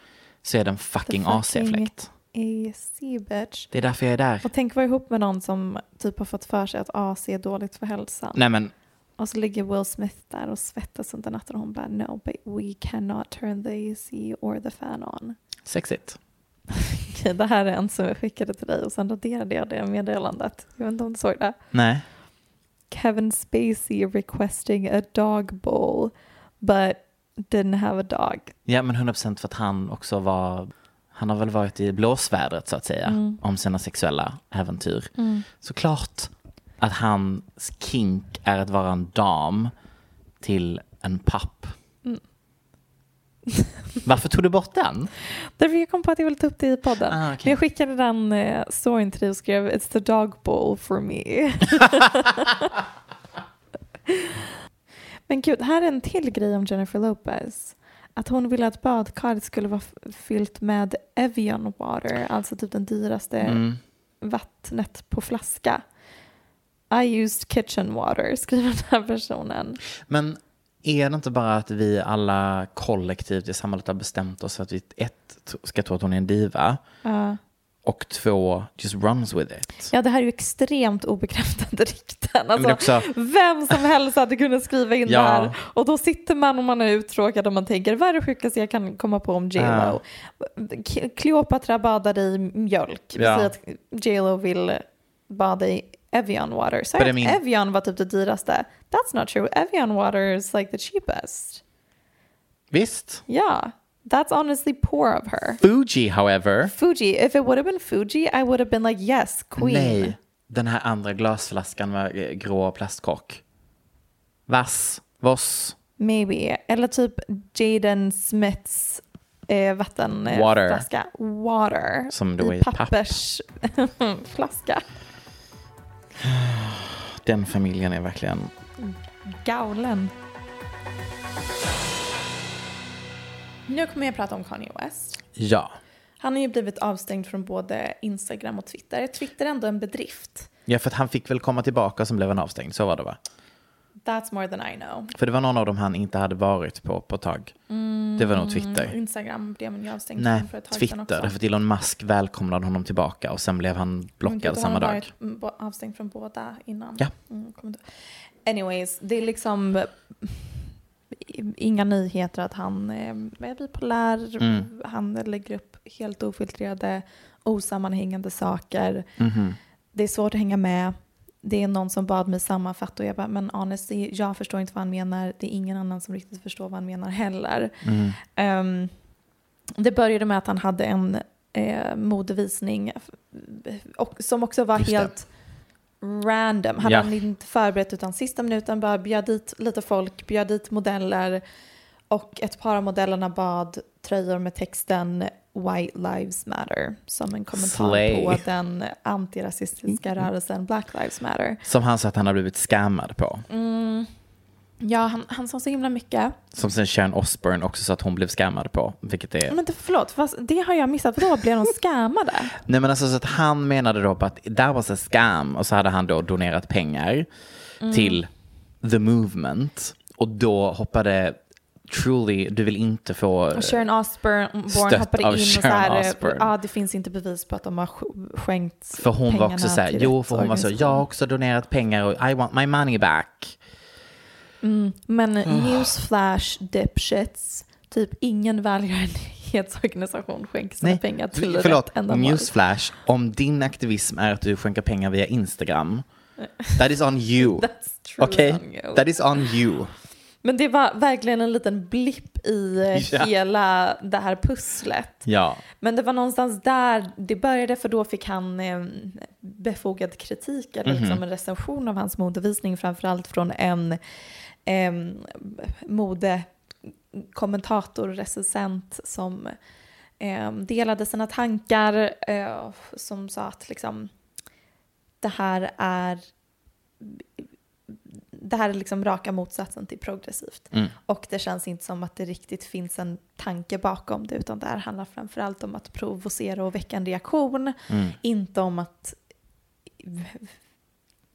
så är det en fucking
The fucking-
AC-fläkt.
AC E bitch.
Det är därför jag är där.
Och tänk vara ihop med någon som typ har fått för sig att AC är dåligt för hälsan.
Nej men,
Och så ligger Will Smith där och svettas under natten och hon bara no but we cannot turn the AC or the fan on. (laughs)
sexigt.
Okej, det här är en som jag skickade till dig och sen raderade jag det meddelandet. Jag vet inte om du såg det.
Nej.
Kevin Spacey requesting a dog bowl but didn't have a dog.
Ja men 100% för att han också var, han har väl varit i blåsvädret så att säga om sina sexuella äventyr. Såklart att hans kink är att vara en dam till en papp. (laughs) Varför tog du bort den?
Därför jag kom på att jag ville ta upp det i podden.
Ah, okej.
Men jag skickade den eh, storyn till dig och skrev It's the dog bowl for
(laughs)
me. Men gud, här är en till grej om Jennifer Lopez. Att hon ville att badkaret skulle vara f- fyllt med Evian water, alltså typ den dyraste
Mm.
vattnet på flaska. I used kitchen water, skriver den här personen.
Men är det inte bara att vi alla kollektivt i samhället har bestämt oss att vi ett t- ska tro att hon är en diva och två just runs with it?
Ja, alltså, det här är ju extremt obekräftade rykten.
men
Alltså, (laughs)
också-
Vem som helst hade kunnat skriva in
Ja.
det här. Och då sitter man och man är uttråkad och man tänker vad är det sjukaste jag kan komma på om J.Lo? K- Cleopatra badade i mjölk. Vi
Ja.
säger att J.Lo vill bada i Evian water. Så
But
att
I mean-
Evian var typ det dyraste. That's not true. Evian water is like the cheapest.
Visst?
Yeah, that's honestly poor of her.
Fuji however.
Fuji, if it would have been Fuji I would have been like yes, queen.
Nej, den här andra glasflaskan med eh, grå plastkork. Vass, voss.
Maybe. Eller typ Jaden Smiths eh, vattenflaska.
Water.
Flaska. Water.
Som då
I
är
(laughs)
papp.
pappersflaska.
Den familjen är verkligen...
Gaulen. Nu kommer jag prata om Kanye West.
Ja.
Han har ju blivit avstängd från både Instagram och Twitter. Twitter är ändå en bedrift.
Ja, för att han fick väl komma tillbaka som blev en avstängd. Så var det va?
That's more than I know.
För det var någon av dem han inte hade varit på på ett tag.
Mm.
det var nog Twitter.
Instagram blev man ju avstängd
Nej,
från för ett tag sedan
Twitter.
också.
Därför att Elon Musk välkomnade honom tillbaka och sen blev han
Men gud,
blockad
då
samma
har han
dag.
varit mm, bo- avstängd från båda innan.
Ja.
Mm, kommer inte- Anyways, det är liksom inga nyheter att han eh, är bipolär.
Mm.
Han lägger upp helt ofiltrerade, osammanhängande saker.
Mhm.
Det är svårt att hänga med. Det är någon som bad mig sammanfatta och jag bara, men honestly, jag förstår inte vad han menar. Det är ingen annan som riktigt förstår vad han menar heller.
Mm.
Ehm, det började med att han hade en eh, modevisning och, som också var
Just det.
helt random. Hade
Ja.
han inte förberett utan sista minuten bara bjöd dit lite folk, bjöd dit modeller och ett par av modellerna bad tröjor med texten White Lives Matter som en kommentar
Slay. Mm.
på den antirasistiska rörelsen Black Lives Matter.
Som han sa att han har blivit scammad på.
Mm. Ja, han, han sa så himla mycket.
Som sen Sharon Osbourne också sa att hon blev scammad på. Vilket är...
Men det, förlåt, fast det har jag missat. Vadå, blev de
(laughs)
scammade?
Nej men alltså så att han menade då på att that was a scam och så hade han då donerat pengar till the movement och då hoppade truly, du vill inte få...
Och Sharon Osbourne
Stött
hoppade in
av
och så
Sharon
här,
Osbourne.
ja det finns inte bevis på att de har sk- skänkt
För hon var
pengarna
också så här,
till
jo,
rätt
för hon var så, jag har
organisation."
också donerat pengar och I want my money back. Ah.
Men newsflash dipshits, typ ingen välgörenhetsorganisation skänker sina
Nej,
pengar till
till
rätt
förlåt,
ändamål.
newsflash, om din aktivism är att du skänker pengar via Instagram, that is on you.
(laughs) That's true
Okej,
on you.
that is on you.
Men det var verkligen en liten blipp i eh,
Ja.
hela det här pusslet.
Ja,
Men det var någonstans där det började för då fick han eh, befogad kritik eller liksom en recension av hans modevisning framförallt från en eh, modekommentator, recensent som eh, delade sina tankar eh, som sa att liksom det här är det här är liksom raka motsatsen till progressivt.
mm.
Och det känns inte som att det riktigt finns en tanke bakom det utan det här handlar framförallt om att provocera och väcka en reaktion. Inte om att,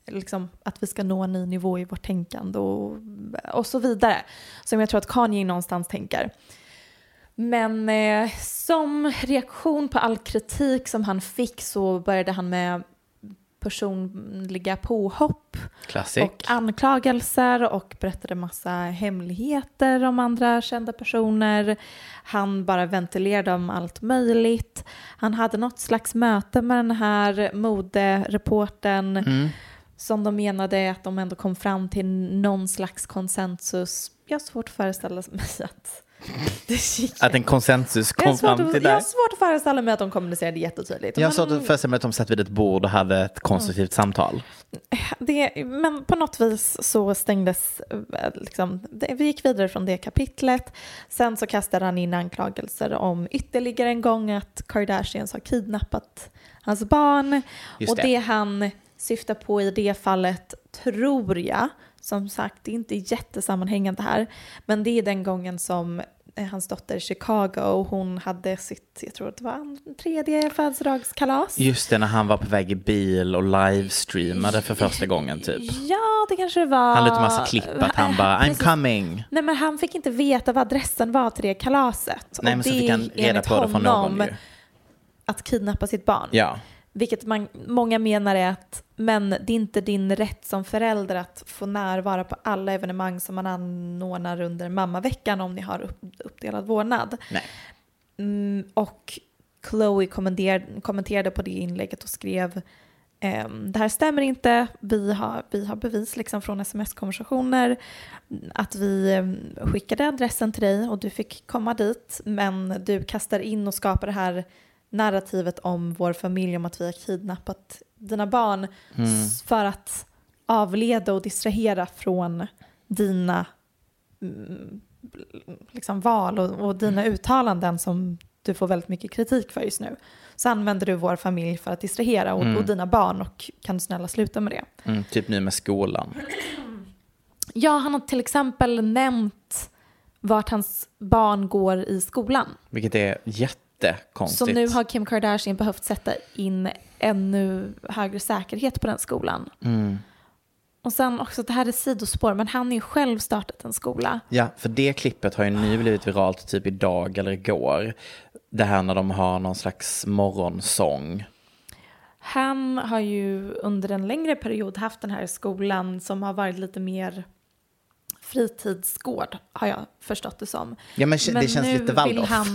liksom, att vi ska nå en ny nivå i vårt tänkande och, och så vidare. Som jag tror att Kanye någonstans tänker. Men eh, som reaktion på all kritik som han fick så började han med personliga påhopp
classic.
och anklagelser och berättade massa hemligheter om andra kända personer. Han bara ventilerade om allt möjligt. Han hade något slags möte med den här modereportern
Mm.
som de menade att de ändå kom fram till någon slags konsensus. Jag har svårt att föreställa mig att (laughs) det gick.
Att en konsensus
Jag har,
kom
svårt
fram
att,
till
jag har
det.
svårt att föreställa mig att de kommunicerade jättetydligt.
Jag
Men-
såg det först mig att de satt vid ett bord och hade ett konstruktivt samtal.
det, men på något vis så stängdes, eh, liksom, det, vi gick vidare från det kapitlet. Sen så kastade han in anklagelser om ytterligare en gång att Kardashians har kidnappat hans barn.
Just
och
det.
det. han syftar på i det fallet tror jag, som sagt det är inte jättesammanhängande här, men det är den gången som eh, hans dotter i Chicago, hon hade sitt, jag tror att det var en tredje födelsedagskalas.
Just det, när han var på väg i bil och livestreamade för första gången typ.
Ja, det kanske det var.
Han la ut en massa klipp att han bara, I'm
Precis.
coming.
Nej men han fick inte veta vad adressen var till det kalaset.
Nej
Och
men så
det
fick han
är
reda
enligt
på det från någon
honom
ju.
Att kidnappa sitt barn.
Ja.
Vilket man, många menar är att men det är inte din rätt som förälder att få närvara på alla evenemang som man anordnar under mammaveckan om ni har upp, uppdelad vårdnad.
Nej.
Mm, och Chloe kommenter- kommenterade på det inlägget och skrev ehm, det här stämmer inte, vi har, vi har bevis liksom från sms-konversationer att vi ehm, skickade adressen till dig och du fick komma dit men du kastar in och skapar det här narrativet om vår familj om att vi har kidnappat dina barn s- för att avleda och distrahera från dina mm, liksom val och, och dina uttalanden som du får väldigt mycket kritik för just nu. Så använder du vår familj för att distrahera och, och dina barn och kan du snälla sluta med det?
Mm, typ nu med skolan.
Ja, han har till exempel nämnt vart hans barn går i skolan.
Vilket är jättekonstigt.
Så nu har Kim Kardashian behövt sätta in ännu högre säkerhet på den skolan. Och sen också, det här är sidospår, men han har ju själv startat en skola.
Ja, för det klippet har ju nu blivit viralt typ idag eller igår. Det här när de har någon slags morgonsång.
Han har ju under en längre period haft den här skolan som har varit lite mer fritidsgård har jag förstått det som.
Ja, men det känns
nu
lite
vill
Waldorf.
Han,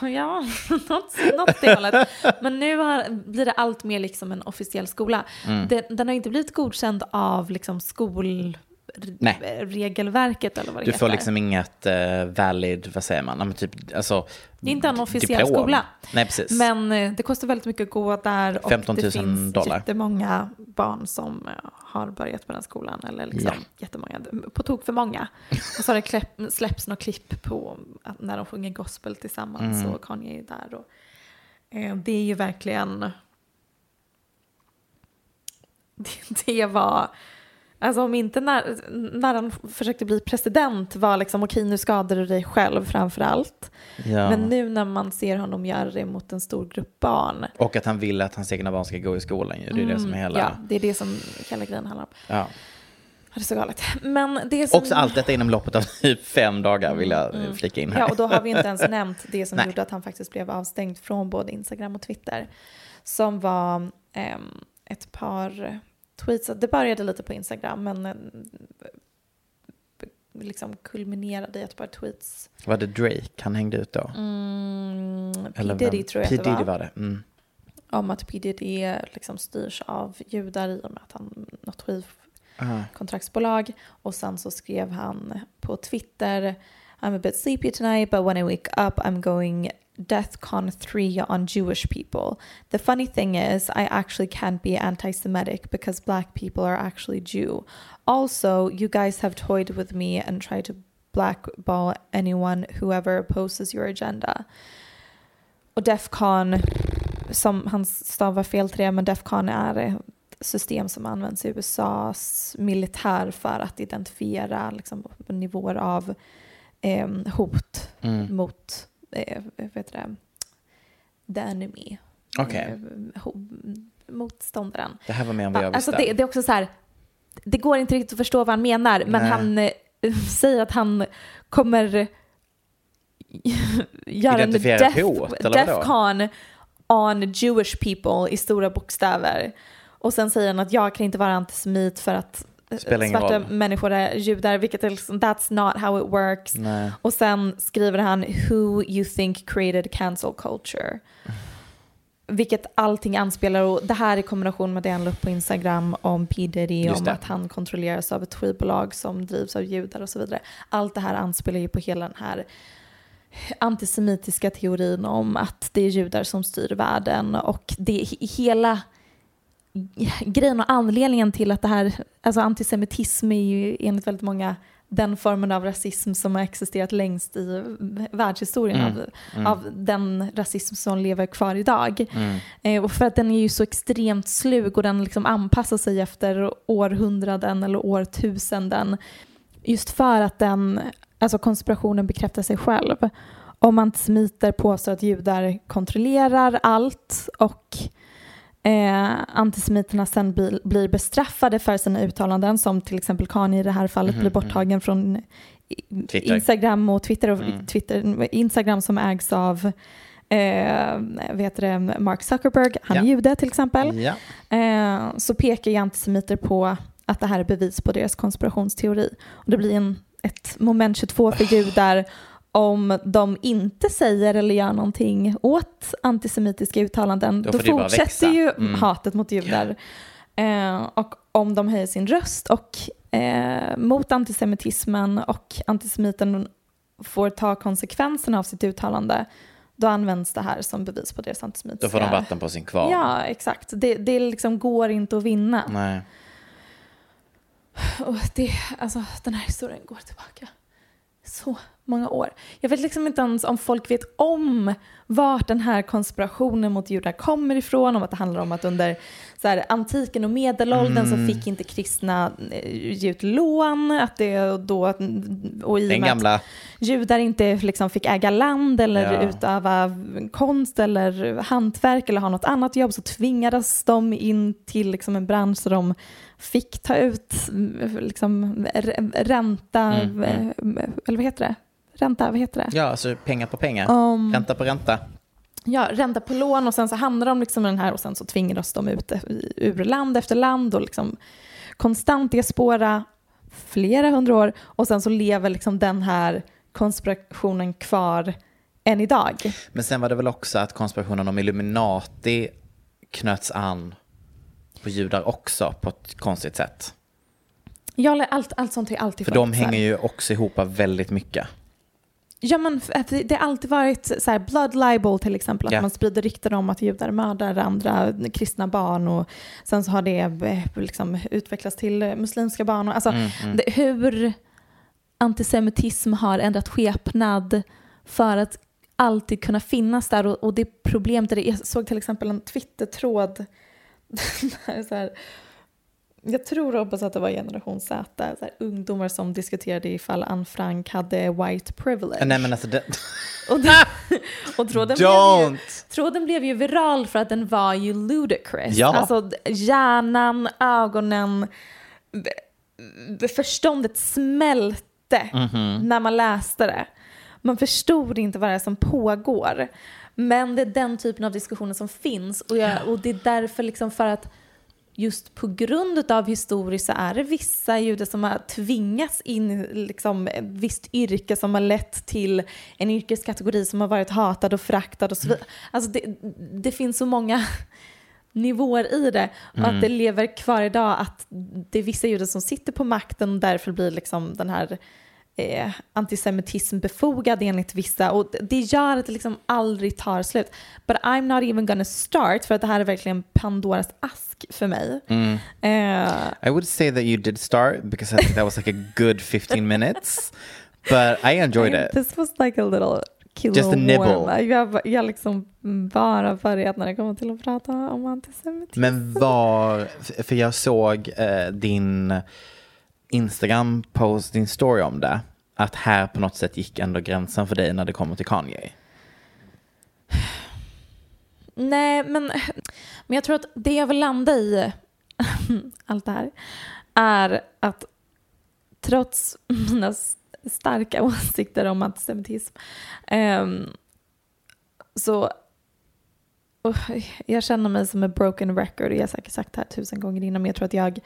ja, ja (laughs) något, något det hållet. Men nu har, blir det allt mer liksom en officiell skola.
Mm.
Den, den har inte blivit godkänd av liksom
Nej.
skolregelverket eller vad det
Du får
heter.
liksom inget eh, valid, vad säger man, ja, men typ, alltså,
Det är inte en officiell
diplom.
skola.
Nej, precis.
Men eh, det kostar väldigt mycket att gå där och
15 000
det finns
dollar.
jättemånga barn som eh, har börjat på den skolan. Eller liksom
Ja.
jättemånga, på tok för många. Och så har det kläpp, släppts några klipp på att när de sjunger gospel tillsammans
Mm.
och Kanye är där. Och, eh, det är ju verkligen... (laughs) Det, det var... Alltså om inte när, när han försökte bli president var liksom okej nu skadar du dig själv framför allt.
ja.
Men nu när man ser honom göra det mot en stor grupp barn.
Och att han vill
Mm,
att hans egna barn ska gå i skolan ju. Det är det som är hela...
Ja, det är det som hela grejen handlar om.
Ja.
Det är så galet. Men det som...
Också allt detta inom loppet av (laughs) typ fem dagar vill jag eh, flika in här.
Mm, Ja, och då har vi inte ens
(laughs)
nämnt det som
Nej.
gjorde att han faktiskt blev avstängd från både Instagram och Twitter. Som var ehm, ett par tweets. Det började lite på Instagram men eh, liksom kulminerade i ett par tweets.
Var det Drake han hängde ut då?
Mm, P. Diddy
vem?
tror jag
P.
att det var.
Diddy var det. Mm.
Om att P. Diddy liksom styrs av judar i och med att han något skiv
Ah.
kontraktsbolag och sen så skrev han på Twitter I'm a bit sleepy tonight but when I wake up I'm going DeathCon 3 on Jewish people. The funny thing is I actually can't be anti-Semitic because black people are actually Jew. Also, you guys have toyed with me and tried to blackball anyone whoever opposes your agenda. Och Defcon, som han stavar fel till det, men Defcon är ett system som används i USAs militär för att identifiera liksom, nivåer av eh, hot
Mm.
mot eh, vad heter det? the enemy,
Okej,
eh, ho- motståndaren.
det här var mer än vad jag visste.
Alltså det, det är också så här, det går inte riktigt att förstå vad han menar, men
Nej.
han eh, (laughs) säger att han kommer (laughs) göra en
Identifiera
death,
hot, eller vadå?
Defcon on Jewish people i stora bokstäver. Och sen säger han att jag kan inte vara antisemit för att eh,
Spelar ingen
svarta
roll.
människor är judar, vilket är liksom, that's not how it works.
Nej.
Och sen skriver han “Who you think created cancel culture”. Vilket allting anspelar och det här i kombination med det han la upp på Instagram om P Diddy,
Just
om
det.
att han kontrolleras av ett skivbolag som drivs av judar och så vidare. Allt det här anspelar ju på hela den här antisemitiska teorin om att det är judar som styr världen och det he- hela grejen och anledningen till att det här, alltså antisemitism är ju enligt väldigt många den formen av rasism som har existerat längst i världshistorien
Mm.
av, av den rasism som lever kvar idag. Eh, och för att den är ju så extremt slug och den liksom anpassar sig efter århundraden eller årtusenden. Just för att den, alltså konspirationen bekräftar sig själv. Om antisemiter påstår att judar kontrollerar allt och eh, antisemiterna sen blir, blir bestraffade för sina uttalanden som till exempel Kanye i det här fallet blir borttagen från i-
Twitter.
Instagram och Twitter och
Mm.
Twitter, Instagram som ägs av eh, vad heter det, Mark Zuckerberg, han är
Ja.
jude till exempel.
Ja.
Eh, så pekar ju antisemiter på att det här är bevis på deras konspirationsteori. Och det blir en, ett moment 22 för judar om de inte säger eller gör någonting åt antisemitiska uttalanden.
Då
Då,
får det ju bara växa.
fortsätter ju
Mm.
hatet mot judar. Eh, och om de höjer sin röst och eh, mot antisemitismen och antisemiten får ta konsekvenserna av sitt uttalande, då används det här som bevis på deras antisemitiska
Då får de vatten på sin kvarn.
Ja, exakt. Det, det liksom går inte att vinna.
Nej.
Och det, alltså, den här historien går tillbaka så många år. Jag vet liksom inte ens om folk vet om vart den här konspirationen mot judar kommer ifrån. Om att det handlar om att under så här, antiken och medelåldern
Mm.
så fick inte kristna eh, ge ut lån. Att det då, och i och
Den
med att-
gamla,
judar inte liksom fick äga land eller
Ja.
utöva konst eller hantverk eller ha något annat jobb så tvingades de in till liksom en bransch där de fick ta ut mm, liksom, r- ränta,
Mm,
eh, eller vad heter det? Ränta, vad heter det?
ja alltså pengar på pengar.
Om-
Ränta på ränta.
Ja, ränta på lån och sen så hamnar de liksom i den här och sen så tvingades de ut i- ur land efter land och liksom konstant i spåra flera hundra år och sen så lever liksom den här konspirationen kvar än idag.
Men sen var det väl också att konspirationen om Illuminati knöts an på judar också på ett konstigt sätt.
Jag, lä- allt, allt sånt är alltid
För de
fucked, så här.
hänger ju också ihop väldigt mycket.
Ja, men f- att det det har alltid varit så här blood libel till exempel, att
Ja.
man sprider rykten om att judar mördar andra kristna barn och sen så har det eh, liksom utvecklats till eh, muslimska barn. Och, alltså, Det, hur antisemitism har ändrat skepnad för att alltid kunna finnas där och, och det problemet, är det, jag såg till exempel en twittertråd (laughs) där så här, jag tror och hoppas att det var generation Z, så här, ungdomar som diskuterade ifall Anne Frank hade white privilege.
Nej men alltså, det,
Och, det, (laughs) och tråden, blev ju,
Don't!
tråden blev ju viral för att den var ju ludicrous.
Ja.
Alltså d- hjärnan, ögonen, b- förståndet smälte när man läste det. Man förstod inte vad det är som pågår. Men det är den typen av diskussioner som finns och, jag, och det är därför liksom för att just på grund av historiskt så är det vissa judar som har tvingats in i liksom ett visst yrke som har lett till en yrkeskategori som har varit hatad och föraktad och så vidare. Alltså det, det finns så många nivåer i det och
Mm.
att det lever kvar idag att det är vissa judar som sitter på makten och därför blir liksom den här eh, antisemitism befogad enligt vissa och det- det gör att det liksom aldrig tar slut. But I'm not even gonna start för att det här är verkligen Pandoras ask för mig.
Mm.
Eh,
I would say that you did start because I think that was like a good 15 minutes. But I enjoyed it.
This was like a little kilo
Just a nibble.
warm. Jag, jag liksom bara börjat när det kommer till att prata om antisemitism.
Men var, för jag såg eh, din Instagram-post, din story om det. Att här på något sätt gick ändå gränsen för dig när det kommer till Kanye.
Nej, men, men jag tror att det jag vill landa i (laughs) allt det här är att trots mina s- starka (laughs) åsikter om antisemitism ehm, så och jag känner mig som en broken record och jag har säkert sagt det här tusen gånger innan men jag tror att jag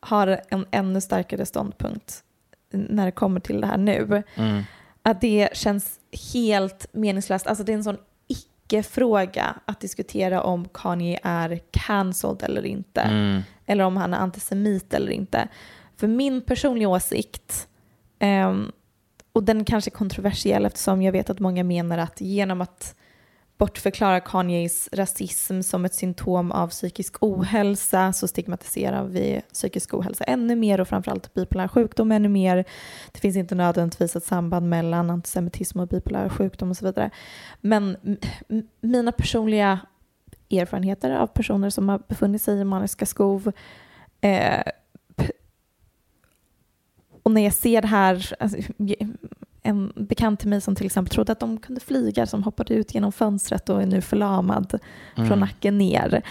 har en ännu starkare ståndpunkt när det kommer till det här nu. Att det känns helt meningslöst. Alltså det är en sån icke-fråga att diskutera om Kanye är cancelled eller inte. Eller om han är antisemit eller inte. För min personliga åsikt, ehm, och den kanske är kontroversiell eftersom jag vet att många menar att genom att bortförklara Kanyes rasism som ett symptom av psykisk ohälsa så stigmatiserar vi psykisk ohälsa ännu mer och framförallt bipolär sjukdom ännu mer. Det finns inte nödvändigtvis ett samband mellan antisemitism och bipolär sjukdom och så vidare. Men m- m- mina personliga erfarenheter av personer som har befunnit sig i maniska skov eh, p- och när jag ser det här, alltså, jag- en bekant till mig som till exempel trodde att de kunde flyga som hoppade ut genom fönstret och är nu förlamad från nacken ner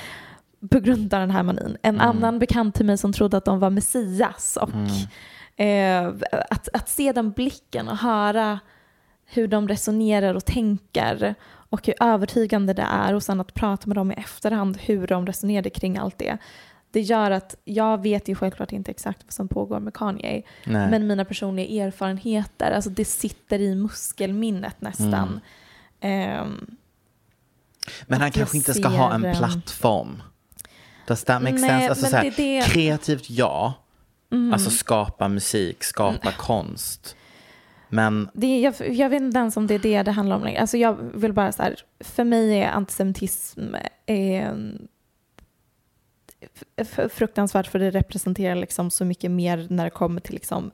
på grund av den här manin. En annan bekant till mig som trodde att de var Messias och eh, att, att se den blicken och höra hur de resonerar och tänker och hur övertygande det är och sen att prata med dem i efterhand hur de resonerade kring allt det. Det gör att jag vet ju självklart inte exakt vad som pågår med Kanye
Nej.
men mina personliga erfarenheter, alltså det sitter i muskelminnet nästan. Ehm,
Men
Att
han
jag
kanske inte ska
ser,
ha en
ehm,
plattform. Does that make
Nej,
sense? Alltså,
men
så här,
det Mm. är det-
Kreativt ja, alltså skapa musik, skapa
Mm.
konst. Men
det, jag, jag vet inte ens om det är det det handlar om längre. Alltså jag vill bara så här, för mig är antisemitism en- f- fruktansvärt för det representerar liksom så mycket mer när det kommer till liksom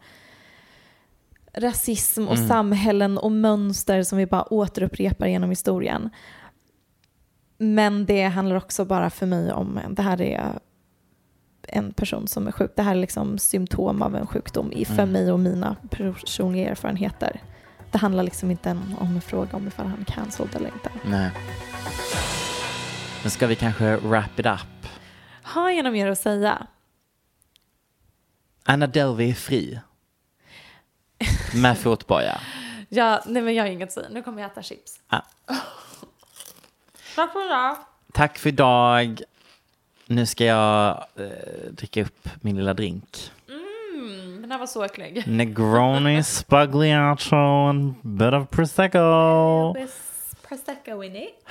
rasism och samhällen och mönster som vi bara återupprepar genom historien. Men det handlar också bara för mig om, det här är en person som är sjuk. Det här är liksom symptom av en sjukdom i- för mig och mina personliga erfarenheter. Det handlar liksom inte en- om en fråga om ifall han är cancelled eller inte.
nej. Men ska vi kanske wrap it up?
Har jag något mer att säga?
Anna Delvey är fri. Med fotboja.
Ja, nej men jag har inget att säga. Nu kommer jag äta chips.
Ah.
(laughs) Tack för idag.
Tack för idag. Nu ska jag eh, dricka upp min lilla drink.
Mm, Den här var så äcklig.
Negroni, spagliato, and bit of prosecco.
Prosecco in it.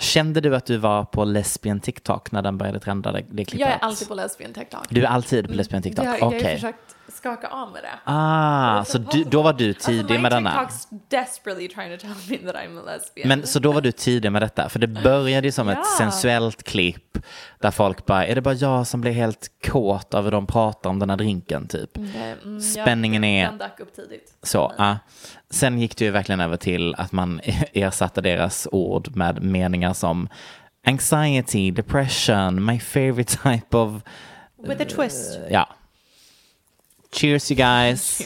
Kände du att du var på lesbian TikTok när den började trenda det, det klippet?
Jag är alltid på lesbian TikTok.
Du är alltid på lesbian TikTok?
Jag, jag har
Okej.
ju försökt skaka av mig det.
Ah, så du, då var du tidig
alltså, my
med denna?
TikTok's desperately trying to tell me that I'm a lesbian.
Men så då var du tidig med detta? För det började ju som ett sensuellt klipp där folk bara, är det bara jag som blir helt kåt av hur de pratar om den här drinken typ?
Mm,
Spänningen
jag,
är-
Den dök upp tidigt.
Så, ja. Sen gick det ju verkligen över till att man (laughs) ersatte deras ord med meningar som anxiety, depression, my favorite type of, eh,
With a twist.
ja. Cheers you guys.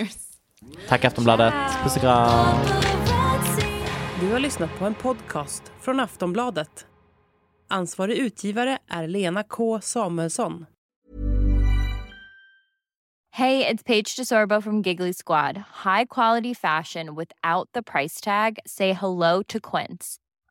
Tack Aftonbladet. Puss och kram.
Du har lyssnat på en podcast från Aftonbladet. Ansvarig utgivare är Lena K Samuelsson.
Hey, it's Paige DeSorbo from Giggly Squad. High quality fashion without the price tag. Say hello to Quince.